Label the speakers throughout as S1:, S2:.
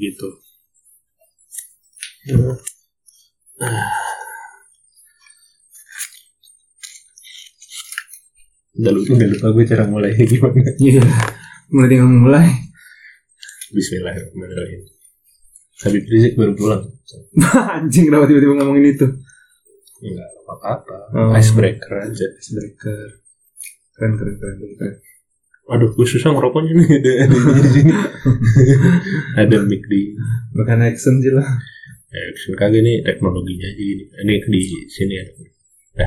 S1: Gitu.
S2: begitu
S1: Iya. Udah lupa, udah lupa gue cara mulai gimana.
S3: Iya. Mulai dengan mulai.
S1: Bismillahirrahmanirrahim. Habib Rizik baru pulang.
S3: Anjing kenapa tiba-tiba ngomongin itu?
S1: Enggak apa-apa. Hmm.
S3: Oh.
S1: Icebreaker aja.
S3: Icebreaker. Keren keren keren keren, keren.
S1: Aduh, gue susah ngerokoknya nih. Ada ada di sini. ada mic di
S3: Bukan action sih lah.
S1: action kagak nih teknologinya aja gini. Ini di sini ya. ada.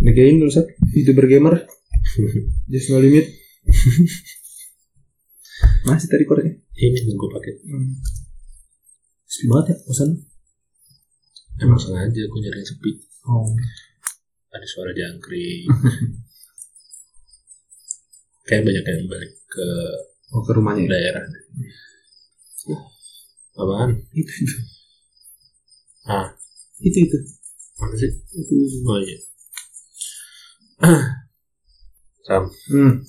S3: Nikahin dulu Sat. Youtuber gamer. Just no limit. Masih tadi koreknya.
S1: Ini yang gue pakai.
S3: Hmm. Sepi banget ya bosan.
S1: Emang sengaja gue nyari yang sepi.
S3: Oh.
S1: Ada suara jangkrik. Kayak banyak yang balik ke
S3: Oh ke rumahnya. ya?
S1: daerah. Apaan?
S3: Itu itu.
S1: Ah.
S3: Itu itu.
S1: Mana sih? Oh iya. Sam,
S3: Hmm.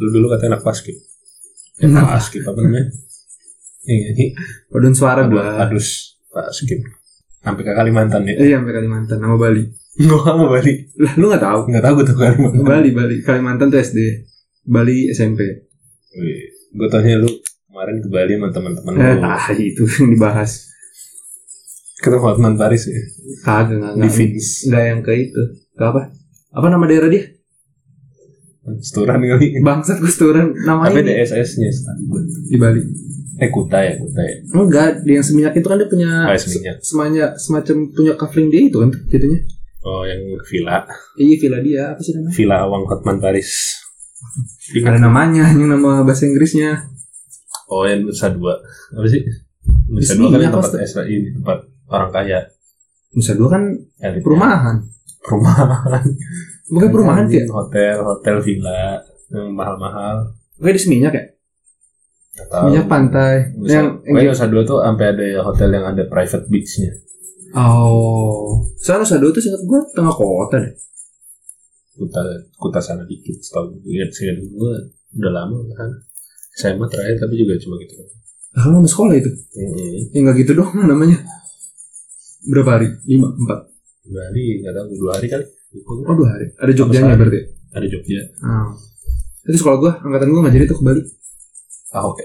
S1: lu dulu kata anak paskib.
S3: Kenapa?
S1: paskib apa namanya? Iya, ini
S3: Paduan suara
S1: adu-
S3: gua.
S1: adus paskib. Sampai ke Kalimantan ya.
S3: Iya, sampai Kalimantan sama Bali.
S1: Gua sama Bali.
S3: Lah, lu gak tahu?
S1: Enggak tahu gua tuh Kalimantan.
S3: Bali, Bali. Kalimantan tuh SD. Bali SMP.
S1: Wih, Gua tanya lu kemarin ke Bali sama teman-teman
S3: Eh,
S1: lu.
S3: tai itu yang dibahas.
S1: Ketemu Hotman Paris ya.
S3: Kagak, enggak,
S1: Di finish.
S3: Enggak yang ke itu. Ke apa? Apa nama daerah dia?
S1: Setoran kali.
S3: Bangsat kusturan
S1: Tapi
S3: namanya
S1: ada
S3: Oh, ini.
S1: SS-nya Stan.
S3: di Bali.
S1: Eh Kuta ya, Kuta ya.
S3: Enggak, di yang seminyak itu kan dia punya
S1: Ah, Seminyak.
S3: se- semanya semacam punya covering dia itu kan jadinya.
S1: Oh, yang villa,
S3: Iya, villa dia apa sih namanya?
S1: villa Awang Hotman Paris.
S3: Ada namanya, yang nama bahasa Inggrisnya.
S1: Oh yang Nusa Dua Apa sih? Nusa
S3: Di
S1: Dua
S3: sini,
S1: kan yang
S3: apa,
S1: tempat
S3: Ustaz?
S1: SRI ini Tempat orang kaya
S3: Nusa Dua kan
S1: elitnya.
S3: perumahan.
S1: Perumahan
S3: Bukan perumahan
S1: Anjing,
S3: sih. ya?
S1: Hotel Hotel villa Yang mahal-mahal
S3: Bukan di seminyak ya?
S1: Nggak tahu.
S3: Seminyak pantai.
S1: Nusa,
S3: yang yang
S1: pokoknya Nusa Dua tuh Sampai ada hotel yang ada private beachnya
S3: Oh, soalnya Nusa Dua tuh singkat gue tengah kota deh.
S1: Kuta Kuta sana dikit Setau Ingat sih gue Udah lama kan Saya mah terakhir Tapi juga cuma gitu doang.
S3: Lah lu sama sekolah itu?
S1: Mm-mm.
S3: Ya nggak gitu doang namanya. Berapa hari? Lima, empat.
S1: Dua hari Gak tau Dua hari kali Lupa gue.
S3: Oh dua hari. Ada Jogjanya
S1: Sama
S3: berarti. ya?
S1: Ada Jogja
S3: Ah. Itu sekolah gue, angkatan gue nggak jadi tuh ke Bali.
S1: Ah oke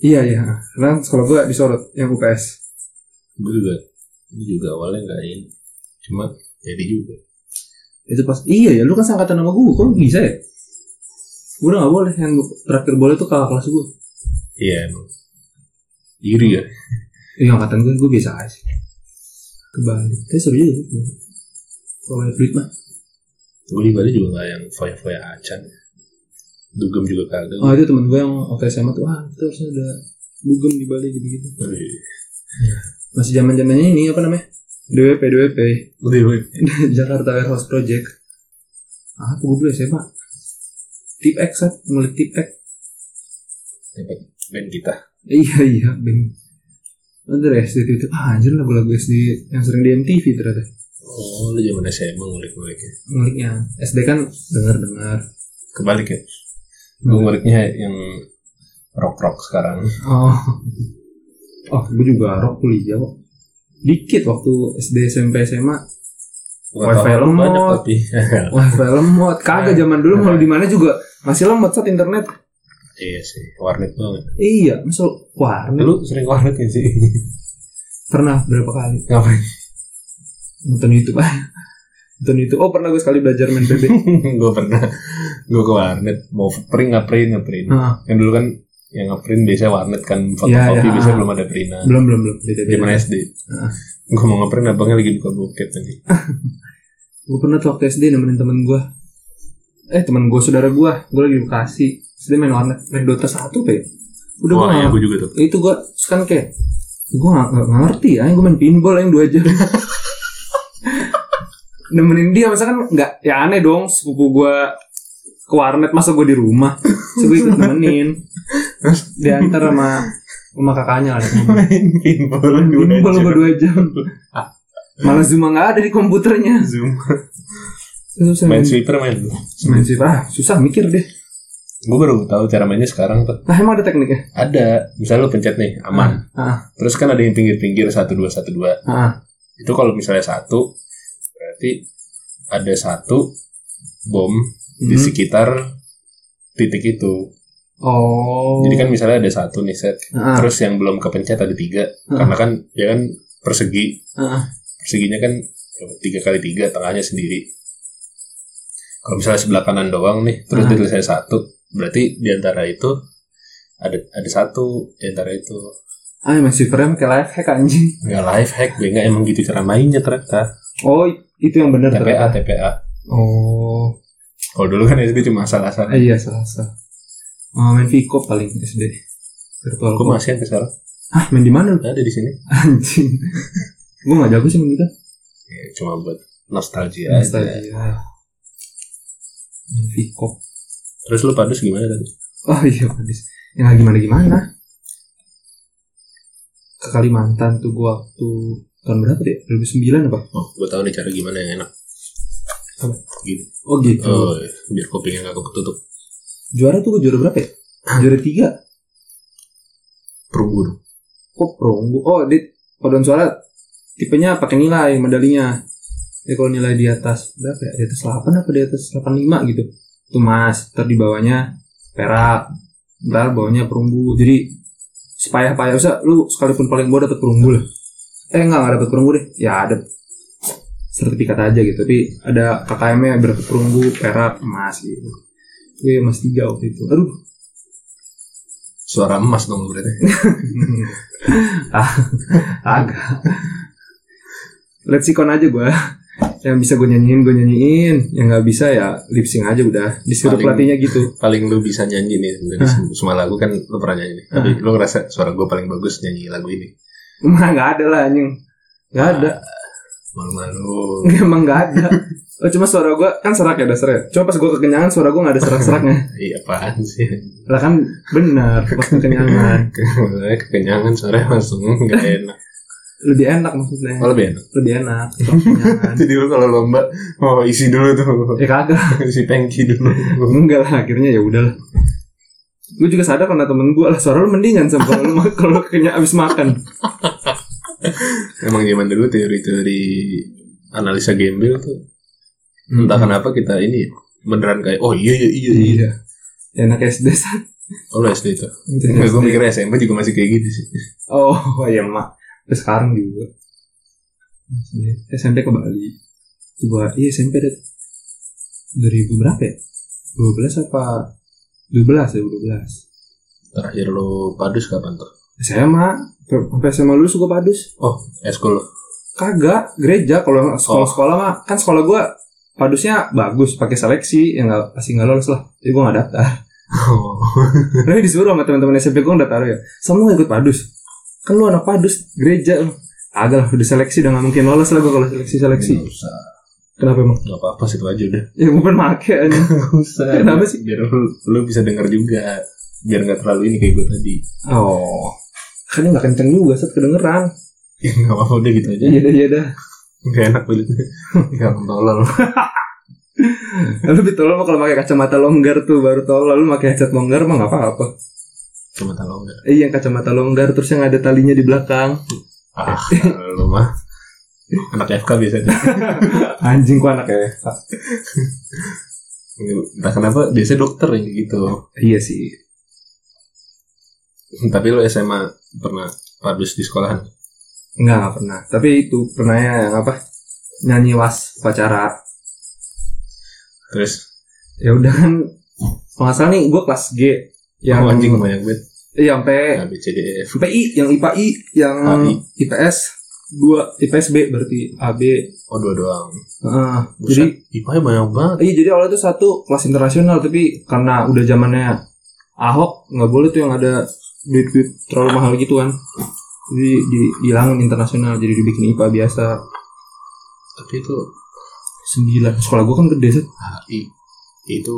S3: Iya iya. Karena sekolah gue disorot yang UPS.
S1: Gue juga Gue juga awalnya nggak ini Cuma Jadi juga
S3: Itu pas. Iya ya. Lu kan seangkatan sama gue. Kok bisa ya? Gue udah nggak boleh. Yang terakhir boleh tuh kakak kelas gue.
S1: Iya emang Iri ya
S3: Iya angkatan gue. Gue biasa aja. Ke Bali. Tapi seru juga. sih. Kalau main fluid mah.
S1: Gue di Bali juga gak yang foya-foya acan Dugem juga kagak
S3: Oh itu temen gue yang waktu SMA tuh. Wah itu harusnya udah bugem di Bali gitu-gitu. Masih zaman zamannya ini apa namanya? DWP DWP. Jakarta Warehouse Project. Ah, aku gue SMA. Tip X, Sat. ngulik tip X.
S1: Band kita
S3: Iya, iya, ben. Ada dari SD itu, ah, anjir lagu-lagu SD yang sering di MTV ternyata.
S1: Oh lu zaman SMA ngulik-nguliknya
S3: Nguliknya SD kan denger-dengar.
S1: Kebalik ya Gue nguliknya yang rock-rock sekarang
S3: Oh. Oh, gue juga rock kuliah kok. Dikit waktu SD SMP SMA.
S1: Gua
S3: Wifi
S1: tau
S3: lemot.
S1: Banyak tapi
S3: Wah, lemot. Kagak zaman dulu mau di mana juga masih lemot saat internet.
S1: Iya sih Warnet banget
S3: Iya, masuk warnet.
S1: Lu sering warnet gak sih?
S3: Pernah berapa kali?
S1: Ngapain?
S3: nonton YouTube ah nonton YouTube oh pernah gue sekali belajar main PB
S1: gue pernah Gue ke warnet Mau print nge-print nge-print
S3: Heeh.
S1: Yang dulu kan Yang nge-print biasanya warnet kan Fotokopi
S3: Iya, iya.
S1: biasanya belum ada printan
S3: belum belum belum beda beda
S1: Gimana SD?
S3: Heeh.
S1: Gue mau ngeprint abangnya lagi buka bokep tadi.
S3: gue pernah tuh waktu SD nemenin temen gue eh temen gue saudara gue gue lagi di Bekasi Terus dia main warnet main Dota satu pe udah ya? gue
S1: Wah, iya gue juga tuh.
S3: itu gue terus kan kayak gue gak, gak ngerti ya gue main pinball yang dua jam nemenin dia masa kan nggak ya aneh dong sepupu gue ke warnet masa gue di rumah so gue ikut nemenin diantar sama sama kakaknya lah
S1: Main pinball
S3: Bimbel gue dua jam Malah Zuma gak ada di komputernya
S1: Zoom.
S3: Susah
S1: Main
S3: main,
S1: sweeper main.
S3: main sih ah, Susah mikir deh
S1: Gue baru tahu cara mainnya sekarang tuh.
S3: Nah emang ada tekniknya?
S1: Ada, misalnya lu pencet nih, aman.
S3: Ah,
S1: Terus kan ada yang pinggir-pinggir satu dua satu dua.
S3: ah, ah.
S1: Itu kalau misalnya satu, berarti ada satu bom di
S3: Mhm.
S1: sekitar titik itu.
S3: Oh.
S1: Jadi kan misalnya ada satu nih set,
S3: Ah,
S1: terus yang belum kepencet ada tiga,
S3: Mhm.
S1: karena kan ya kan persegi,
S3: ah, ah.
S1: perseginya kan tiga kali tiga, tengahnya sendiri. Kalau misalnya sebelah kanan doang nih, terus
S3: Mhm.
S1: ditulisnya satu, berarti di antara itu ada ada satu di antara itu
S3: Ah, emang frame kayak life hack anjing.
S1: nggak life hack, gue nggak emang gitu cara mainnya ternyata.
S3: Oh, itu yang benar
S1: TPA
S3: ternyata.
S1: TPA.
S3: Oh.
S1: Kalau dulu kan SD cuma asal-asal.
S3: Ah, iya, salah salah. Oh, main Vico paling SD. Virtual
S1: Gue
S3: Cop.
S1: masih sampai sekarang.
S3: Hah, main di mana? lu?
S1: Ada di sini.
S3: Anjing. Gue gak jago sih main itu.
S1: Ya, cuma buat nostalgia. aja.
S3: Nostalgia. Main Vico.
S1: Terus lu padus gimana tadi?
S3: Oh iya habis. Yang lagi gimana gimana? Ke Kalimantan tuh gua waktu tahun berapa deh? 2009 apa?
S1: Oh, gue tahu nih cara gimana yang enak.
S3: Apa?
S1: Gini.
S3: Oh gitu.
S1: Oh, biar kupingnya nggak ketutup.
S3: Juara tuh gua juara berapa ya? Juara tiga.
S1: Perunggu.
S3: Kok perunggu? Oh di paduan suara tipenya pakai nilai medalinya. Ya kalau nilai di atas berapa ya? Di atas 8 apa di atas 85 gitu. Itu mas, ntar di bawahnya perak, ntar bawahnya perunggu. Jadi sepayah-payah usah lu sekalipun paling bawah dapat perunggu lah. Eh enggak enggak dapat perunggu deh. Ya ada sertifikat aja gitu. Tapi ada KKM-nya berapa perunggu, perak, emas gitu. Gue emas tiga waktu itu. Aduh,
S1: Suara emas dong berarti.
S3: Ah, agak let's ikon aja gue yang bisa gue nyanyiin gue nyanyiin yang nggak bisa ya lip sync aja udah disuruh
S1: Paling-
S3: pelatihnya gitu
S1: Paling lu bisa nyanyi nih dari sem- semua lagu kan lu pernah nyanyi. Tapi lu ngerasa suara gue paling bagus nyanyi lagu ini.
S3: emang nggak ada lah anjing nggak ada
S1: Malu-malu.
S3: emang nggak ada oh, cuma suara gue kan serak ya dasarnya cuma pas gue kekenyangan suara gue nggak ada serak-seraknya
S1: Iya apaan sih?
S3: lah kan benar pas kekenyangan
S1: Mulai kekenyangan suara langsung nggak enak.
S3: lebih enak maksudnya
S1: Oh, lebih enak.
S3: lebih enak pas kekenyangan
S1: Jadi lu kalau lomba, oh isi dulu tuh.
S3: ya kagak
S1: si tanki dulu
S3: enggak lah akhirnya ya udahlah gue juga sadar karena temen gue lah suara lu mendingan sama kalau lu ma- kalau kayaknya abis makan
S1: emang zaman dulu teori-teori analisa gembel tuh entah kenapa kita ini ya, beneran kayak oh iya iya iya iya
S3: iya enak SD saat
S1: oh lu SD itu Enggak, gue mikir SMP juga masih kayak gitu sih
S3: oh iya mak terus sekarang juga SMP ke Bali gua iya SMP deh 2000 berapa ya 12 apa 12 ya 12
S1: terakhir lu padus kapan tuh
S3: SMA sampai SMA lulus gue padus
S1: oh eskul
S3: Kagak, gereja kalau sekolah-sekolah mah kan sekolah gua padusnya bagus pakai seleksi ya nggak pasti nggak lolos lah jadi gua nggak daftar
S1: oh
S3: tapi disuruh sama teman-teman SMP gua nggak daftar ya sama lu nggak ikut padus kan lu anak padus gereja lu agak lah udah seleksi udah nggak mungkin lolos lah gua kalau seleksi seleksi
S1: nggak usah
S3: kenapa emang
S1: nggak apa-apa situ aja udah
S3: ya bukan make aja
S1: nggak usah
S3: Kenapa sih?
S1: biar lu, lu bisa denger juga biar nggak terlalu ini kayak gue tadi
S3: oh kan nggak kenceng juga set kedengeran
S1: ya nggak apa-apa udah gitu aja
S3: iya dah iya dah
S1: nggak enak kulitnya nggak tolol
S3: lu lebih tolol mah kalau pakai kacamata longgar tuh baru tolol lu pakai headset longgar mah nggak apa-apa
S1: cuma tolol nggak
S3: iya yang kacamata longgar terus yang ada talinya di belakang
S1: ah lu mah anak FK biasanya
S3: Anjing kok anak ya.
S1: Entah kenapa biasanya dokter yang gitu.
S3: Iya sih.
S1: Tapi lo SMA pernah padus di sekolahan.
S3: Enggak, enggak pernah. Tapi itu pernah ya yang apa? Nyanyi was pacara.
S1: Terus
S3: Ya udah kan. Kalau nggak salah nih gue kelas G yang
S1: oh, anjing banyak banget.
S3: Iya, sampai
S1: A B C D E F.
S3: sampai I, yang IPA I, yang
S1: AI.
S3: IPS dua IPS B berarti AB.
S1: Oh dua doang.
S3: Heeh. jadi
S1: Buset, IPA -nya banyak banget.
S3: iya jadi awalnya tuh satu kelas internasional tapi karena udah zamannya Ahok nggak boleh tuh yang ada duit-duit terlalu mahal gitu kan. Jadi di, dihilangin internasional jadi dibikin IPA biasa.
S1: Tapi itu
S3: sembilan sekolah gua kan gede sih
S1: HI itu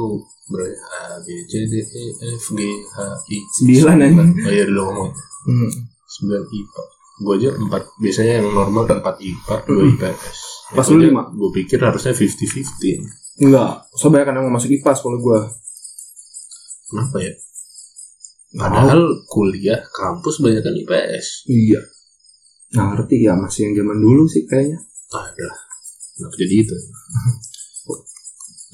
S1: berarti A B C D E F G H I
S3: Sembilan, anjing.
S1: Oh iya dulu ngomong
S3: hmm.
S1: sembilan IPA. Gue aja empat biasanya yang normal tuh empat IPA dua
S3: Mm.
S1: IPS.
S3: Pas lu lima?
S1: Gue pikir harusnya fifty fifty.
S3: enggak soalnya banyak kan yang mau masuk IPA sekolah gua
S1: Kenapa ya?
S3: Oh.
S1: Padahal kuliah kampus banyak kan IPS.
S3: Iya. Nggak ngerti ya masih yang zaman dulu sih kayaknya.
S1: Ada. Ah, Kenapa jadi itu?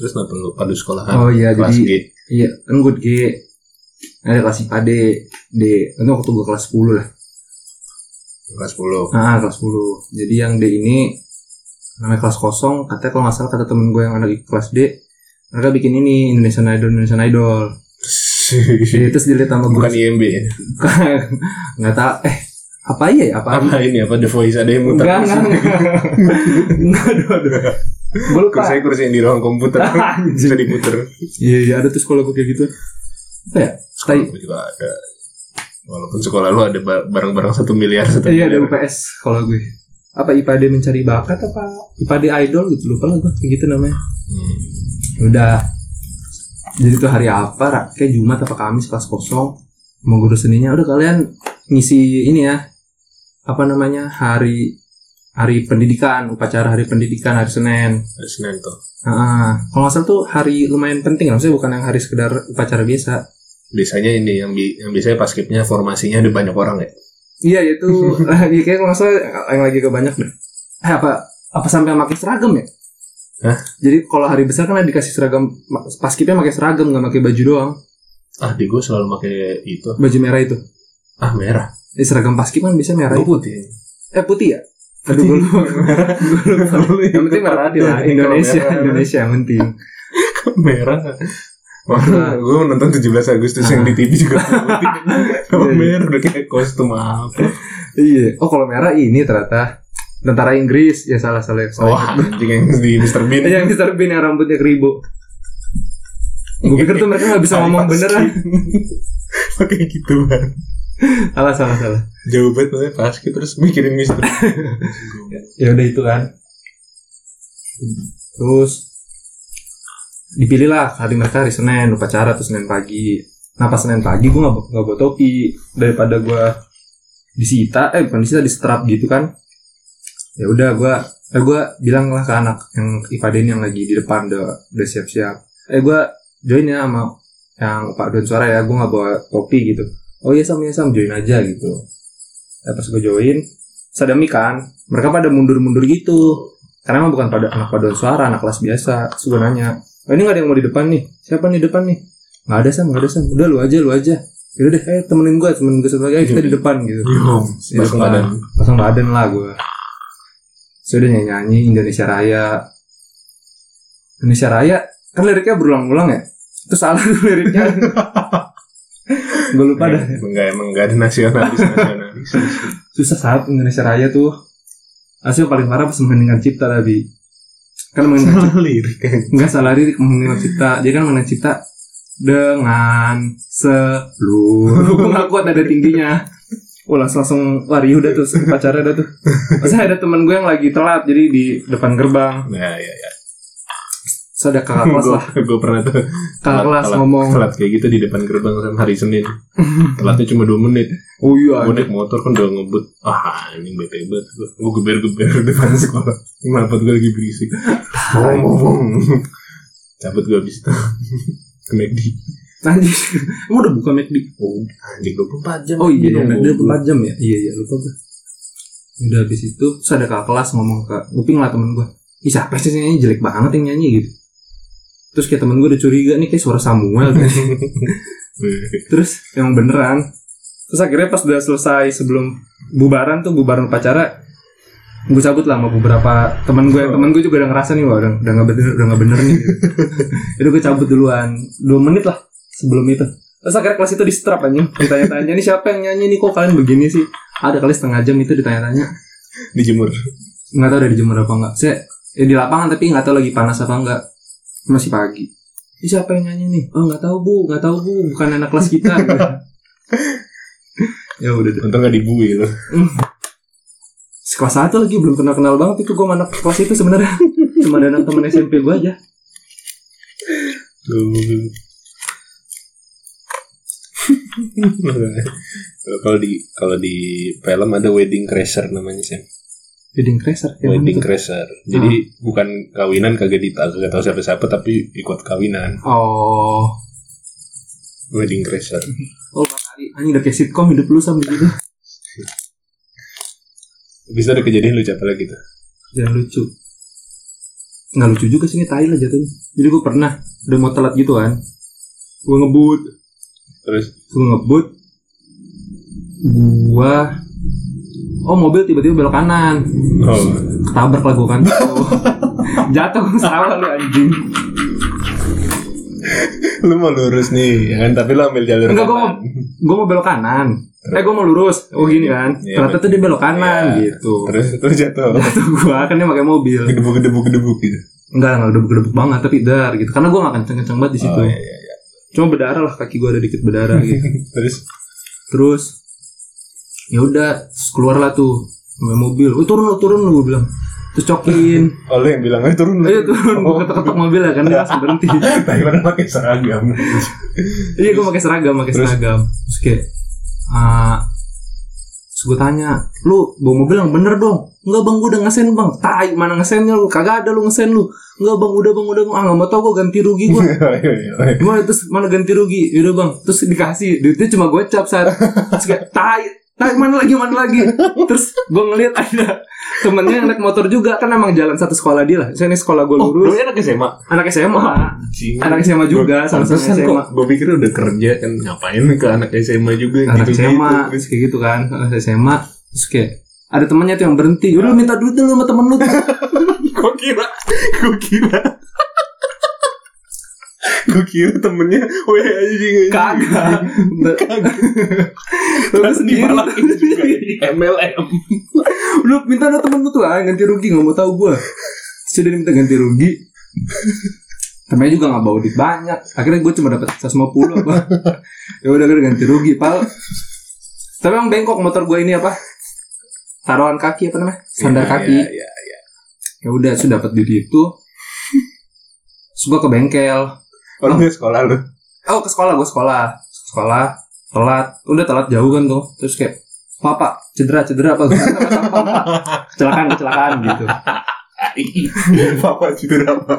S1: Terus kenapa lu padu sekolahan?
S3: Oh
S1: Ah,
S3: iya
S1: kelas
S3: jadi
S1: G.
S3: iya kan gue G. Ada kelas A D D. Itu waktu gue kelas 10 lah.
S1: Kelas 10.
S3: Ah kelas 10. Jadi yang D ini namanya kelas kosong. Katanya kalau nggak salah kata temen gue yang anak kelas D mereka bikin ini Indonesian Idol Indonesian Idol. Jadi terus dilihat sama
S1: Iya.
S3: gue
S1: Bukan IMB ya?
S3: nggak tahu eh apa iya ya apa
S1: Apa ini apa The Voice ada yang muter?
S3: enggak enggak enggak enggak aduh aduh gue lupa
S1: Kursi kursi yang di ruang komputer bisa diputer.
S3: iya iya ada tuh sekolah gue kayak gitu apa ya
S1: Sekolah gue juga ada. Walaupun sekolah lu ada ba- barang-barang satu miliar satu
S3: iya ada
S1: miliar.
S3: UPS kalau gue apa IPAD mencari bakat apa IPAD idol gitu lupa lah gue kayak gitu namanya
S1: Hmm.
S3: udah jadi tuh hari apa Ra? kayak Jumat apa Kamis kelas kosong mau guru seninya udah kalian ngisi ini ya apa namanya hari hari pendidikan upacara hari pendidikan hari Senin
S1: Ada Senin tuh.
S3: Ah, kalau nggak salah tuh hari lumayan penting lah, maksudnya bukan yang hari sekedar upacara biasa.
S1: Biasanya ini yang bi- yang biasanya pas skipnya formasinya ada banyak orang ya.
S3: Iya, itu lagi kayak kalau nggak salah yang lagi kebanyak deh. Eh, apa apa sampai pakai seragam ya?
S1: Hah?
S3: Jadi kalau hari besar kan dikasih seragam ma- pas skipnya pakai seragam nggak pakai baju doang,
S1: Ah, di gue selalu pakai itu.
S3: baju merah itu.
S1: Ah, merah.
S3: Eh, seragam pas skip kan bisa merah.
S1: Gue putih.
S3: Eh putih ya? Aduh, gue lupa. Gue lupa. Yang penting merah hati lah. Indonesia, Indonesia yang penting.
S1: merah
S3: Nah.
S1: Wah, gue nonton 17 Agustus yang di TV juga putih. Sama
S3: Iya.
S1: merah udah kayak kostum apa.
S3: Iya. Oh kalau merah ini ternyata tentara Inggris ya salah salah. salah.
S1: Wah, anjing yang di Mr. Bean.
S3: Yang Mr. Bean yang rambutnya keribu Gue pikir tuh mereka gak bisa ngomong beneran
S1: Pakai gitu kan.
S3: Salah, salah, salah
S1: Jauh banget makanya pas gitu terus mikirin Mr. Bean.
S3: Ya udah itu kan Terus Dipilihlah hari mereka hari Senin Upacara tuh Senin pagi Nah pas Senin pagi gue gak, nggak bawa topi Daripada gue disita Eh bukan disita, distrap gitu kan ya udah gue eh gue bilang lah ke anak yang IPAD ini yang lagi di depan udah udah siap-siap eh gue join ya sama yang Pak Don Suara ya gue nggak bawa topi gitu oh iya sam iya sam join aja gitu eh, pas gue join sadami kan mereka pada mundur-mundur gitu karena emang bukan pada anak Pak Don Suara anak kelas biasa Terus gua nanya oh, ini nggak ada yang mau di depan nih siapa nih depan nih nggak ada sam nggak ada sam udah lu aja lu aja Yaudah deh, ayo temenin gue, temenin gue satu lagi, ayo kita di depan gitu
S1: Bingung.
S3: Di
S1: Pas
S3: depan.
S1: badan.
S3: Pasang badan lah gue Sudah nyanyi-nyanyi Indonesia Raya Indonesia Raya Kan liriknya berulang-ulang ya Itu salah tuh liriknya Gue lupa
S1: Iya.
S3: dah
S1: Enggak emang enggak ada nasionalis nasionalis.
S3: Susah saat Indonesia Raya tuh Asli paling parah pas mengenang cipta tadi Kan mengenang cipta
S1: Lirik kan.
S3: Enggak salah lirik mengenang cipta Dia kan mengenang cipta Dengan seluruh Gue gak kuat ada tingginya Ulas langsung lari udah tuh pacarnya udah tuh Saya ada teman gue yang lagi telat Jadi di depan gerbang
S1: Nah, ya ya.
S3: Terus ada kakak kelas lah
S1: Gue pernah tuh
S3: Kakak kelas ngomong
S1: telat kayak gitu di depan gerbang sama hari Senin. Telatnya cuma 2 menit.
S3: Oh iya
S1: Gue naik motor kan udah ngebut Ah ini bete banget gue Gue geber-geber depan sekolah Kenapa gue lagi berisik Bong bong bong Cabut gue abis itu Ke McD
S3: Anjir Emang udah buka McD
S1: Oh anjing 24 jam
S3: Oh iya,
S1: Minum,
S3: dia
S1: gua-
S3: empat jam ya? Iya iya lupa gue. Udah habis itu terus ada kakak kelas ngomong ke Uping lah temen gue. Ih siapa sih yang nyanyi jelek banget yang nyanyi gitu. Terus kayak temen gue udah curiga nih kayak suara Samuel. terus yang beneran. Terus akhirnya pas udah selesai sebelum bubaran tuh bubaran upacara gue cabut lah sama beberapa temen gue temen gue juga udah ngerasa nih wah udah udah nggak bener udah nggak bener nih gitu. jadi gue cabut duluan dua menit lah sebelum itu terus akhirnya kelas itu di strap anjing ditanya-tanya nih siapa yang nyanyi nih kok kalian begini sih ada kali setengah jam itu ditanya-tanya
S1: Dijemur
S3: nggak tahu dari jemur apa enggak saya ya di lapangan tapi nggak tahu lagi panas apa enggak masih pagi Ih, siapa yang nyanyi nih oh nggak tahu bu nggak tahu bu bukan anak kelas kita ya udah
S1: Untung gak dibui loh
S3: kelas satu lagi belum kenal kenal banget itu gue anak kelas itu sebenarnya cuma ada anak temen SMP gue aja
S1: kalau di kalau di film ada wedding crasher namanya Sam.
S3: wedding crasher gitu. yang mana
S1: wedding
S3: tuh? Ah.
S1: crasher. Jadi bukan kawinan kagak dita kagak tahu siapa siapa tapi ikut kawinan.
S3: oh
S1: Wedding crasher.
S3: Oh, Batari. Anjing udah kayak sitcom hidup lu sampai gitu.
S1: Habis itu ada kejadian lucu apa lagi tuh?
S3: Jangan lucu. Nggak lucu juga sih ini tai lah jatuhnya. Jadi gue pernah udah mau telat gitu kan. Gue ngebut,
S1: Terus
S3: gue ngebut. Gua Oh mobil tiba-tiba belok kanan
S1: oh,
S3: Ketabrak lah gue kan Jatuh salah lu anjing
S1: lu mau lurus nih, ya kan? Tapi lu ambil jalur
S3: Enggak, gua
S1: kanan.
S3: mau- Gue mau belok kanan Eh gue mau lurus Oh gini kan
S1: Iya,
S3: Ternyata tuh dia belok kanan
S1: Iya.
S3: gitu
S1: Terus terus jatuh.
S3: Jatuh gue kan dia pakai mobil
S1: Gedebuk gedebuk gedebuk gitu.
S3: Enggak, enggak gedebuk-gedebuk banget tapi dar gitu. Karena gue gak kenceng-kenceng banget di situ.
S1: Oh, iya, iya, iya.
S3: Cuma berdarah lah kaki gue ada dikit berdarah gitu.
S1: Terus
S3: Terus ya udah terus keluar lah tuh sama mobil. Oh, turun lu, turun lu gue bilang. Terus cokin.
S1: oh, lu yang bilang aja Iya, turun
S3: Ayo Iya, turun, gue ketok-ketok mobil ya kan dia langsung berhenti.
S1: Tapi mana pakai seragam.
S3: Iya, gue pakai seragam, pakai
S1: Terus?
S3: seragam. Terus kayak ah terus gue tanya, lu bawa mobil yang bener dong. Enggak bang, gue udah ngesen bang. Tai, mana ngesennya lu? Kagak ada lu ngesen lu. Enggak bang, udah bang, udah bang. Ah, nggak mau tau gue ganti rugi
S1: Oh,
S3: gue.
S1: iya,
S3: Gimana terus mana ganti rugi? Yaudah bang, terus dikasih duitnya cuma gocap saat terus kayak tai, tai mana lagi mana lagi. Terus gue ngeliat ada temennya yang naik motor juga kan emang jalan satu sekolah dia lah. Saya ini sekolah gue
S1: Oh,
S3: lurus,
S1: enak SMA.
S3: anak SMA, anak SMA juga, sama sama
S1: Pantesan
S3: SMA.
S1: kok gue pikir udah kerja kan ngapain ke anak SMA juga
S3: Anak
S1: gitu
S3: SMA, terus kayak gitu kan, anak SMA, terus kayak ada temennya tuh yang berhenti, yaudah lu minta duit dulu sama temen lu.
S1: Gue kira Gue kira Gue kira temennya Weh anjing anjing.
S3: Kagak, ya. terus
S1: Terus
S3: sendiri.
S1: dimarahin juga jadi MLM
S3: lu minta ada temen lu tuh ah ganti rugi nggak mau tahu gue sudah minta ganti rugi temennya juga nggak bawa duit banyak akhirnya gue cuma dapat 150 apa ya udah gue ganti rugi pal tapi emang bengkok motor gue ini apa taruhan kaki apa namanya sandar kaki
S1: Iya, iya, iya.
S3: ya udah sudah dapat duit itu Terus gua ke bengkel
S1: Oh lu nggak sekolah lu
S3: oh ke sekolah gue sekolah sekolah telat udah telat jauh kan tuh terus kayak papa cedera cedera apa kecelakaan kecelakaan gitu
S1: Papa itu apa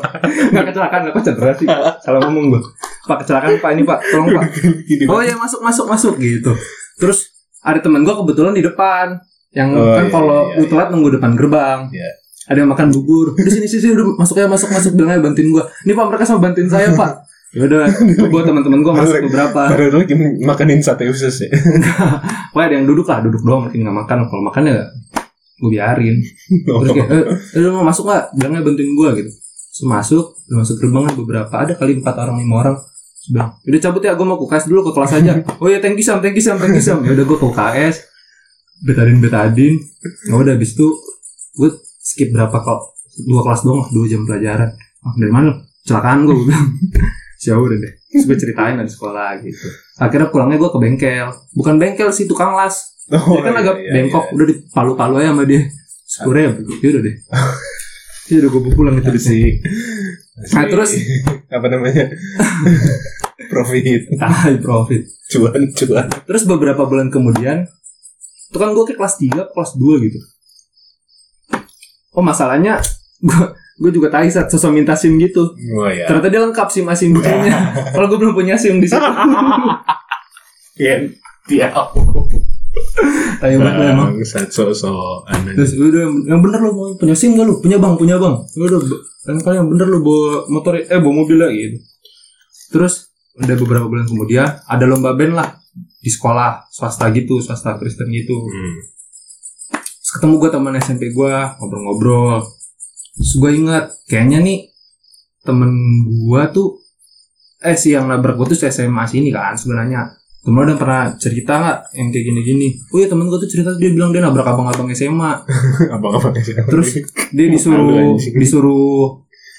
S3: Enggak kecelakaan, enggak cedera sih. Salah ngomong gua. Pak kecelakaan Pak ini Pak, tolong Pak.
S1: Gini
S3: Oh ya masuk masuk masuk gitu. Terus ada teman gua kebetulan di depan yang
S1: Oh,
S3: kan
S1: iya,
S3: kalau
S1: iya,
S3: lu telat nunggu depan gerbang.
S1: Iya.
S3: Ada yang makan bubur. Di sini sini udah masuk ya masuk masuk bilangnya bantuin gua. Ini Pak mereka sama bantuin saya Pak. Ya udah, gua teman-teman gua masuk beberapa.
S1: Padahal lu lagi makanin sate usus ya
S3: Wah, ada yang duduk lah, duduk doang mungkin nggak makan. Kalau makan ya gua biarin.
S1: Oh,
S3: Terus kayak, eh, eh, lu mau masuk gak? Bilangnya bantuin gue gitu. Terus masuk, udah masuk gerbang kan beberapa. Ada kali empat orang, lima orang. Terus bilang, udah cabut ya, gue mau ke UKS dulu ke kelas aja. oh iya, thank you Sam, thank you Sam, thank you Sam. Yaudah gue ke UKS. Betadin, betadin. Nah, udah habis itu, gue skip berapa kok? Dua kelas doang, lah, dua jam pelajaran. Ah, dari mana? Celakaan gue, gue bilang. Jauh udah deh. Terus gue ceritain lah di sekolah gitu. Akhirnya pulangnya gue ke bengkel. Bukan bengkel sih, tukang las.
S1: Oh,
S3: Dia kan
S1: iya,
S3: agak
S1: iya,
S3: bengkok udah dipalu-palu aja sama dia. Sepuluh ya udah deh. Ya udah gue pulang itu
S1: iya.
S3: di sini.
S1: Si-
S3: Nah,
S1: si-
S3: terus-
S1: apa namanya profit
S3: Tai profit.
S1: cuan cuan
S3: Terus beberapa bulan kemudian itu kan gue ke kelas 3, kelas 2 gitu. Oh masalahnya gue gue juga tai saat sosok minta sim gitu.
S1: oh ya
S3: Ternyata dia lengkap sim asim punya. Kalau gue belum punya sim di situ.
S1: Iya, dia
S3: Tai banget lah, emang.
S1: Bangsat, so-so
S3: Terus udah yang bener lu mau punya sim gak lu? Punya bang, punya bang. Udah kan kali yang bener lu bawa motor eh bawa mobil lah gitu. Terus udah beberapa bulan kemudian ada lomba band lah di sekolah swasta gitu, swasta Kristen gitu.
S1: Hmm.
S3: Terus ketemu gue teman SMP gue ngobrol-ngobrol. Terus gue ingat kayaknya nih temen gue tuh eh si yang nabrak gue tuh si SMA sini kan sebenarnya temen lu udah pernah cerita nggak yang kayak gini-gini? Oh iya temen gue tuh cerita dia bilang dia nabrak abang-abang SMA
S1: Abang-abang SMA.
S3: Terus dia
S1: Malu
S3: disuruh
S1: anjing.
S3: disuruh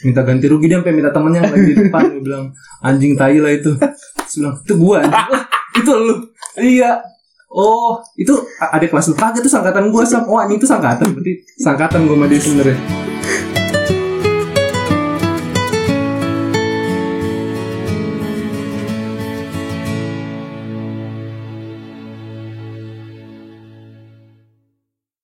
S3: minta ganti rugi dia sampai minta temennya yang lagi di depan dia bilang anjing tai lah itu. Terus bilang itu gua anjing. Lah, itu lu. Iya. Oh, itu a- ada kelas lu kagak itu sangkatan gua sam. Oh, anjing itu sangkatan berarti sangkatan gua sama dia sebenarnya.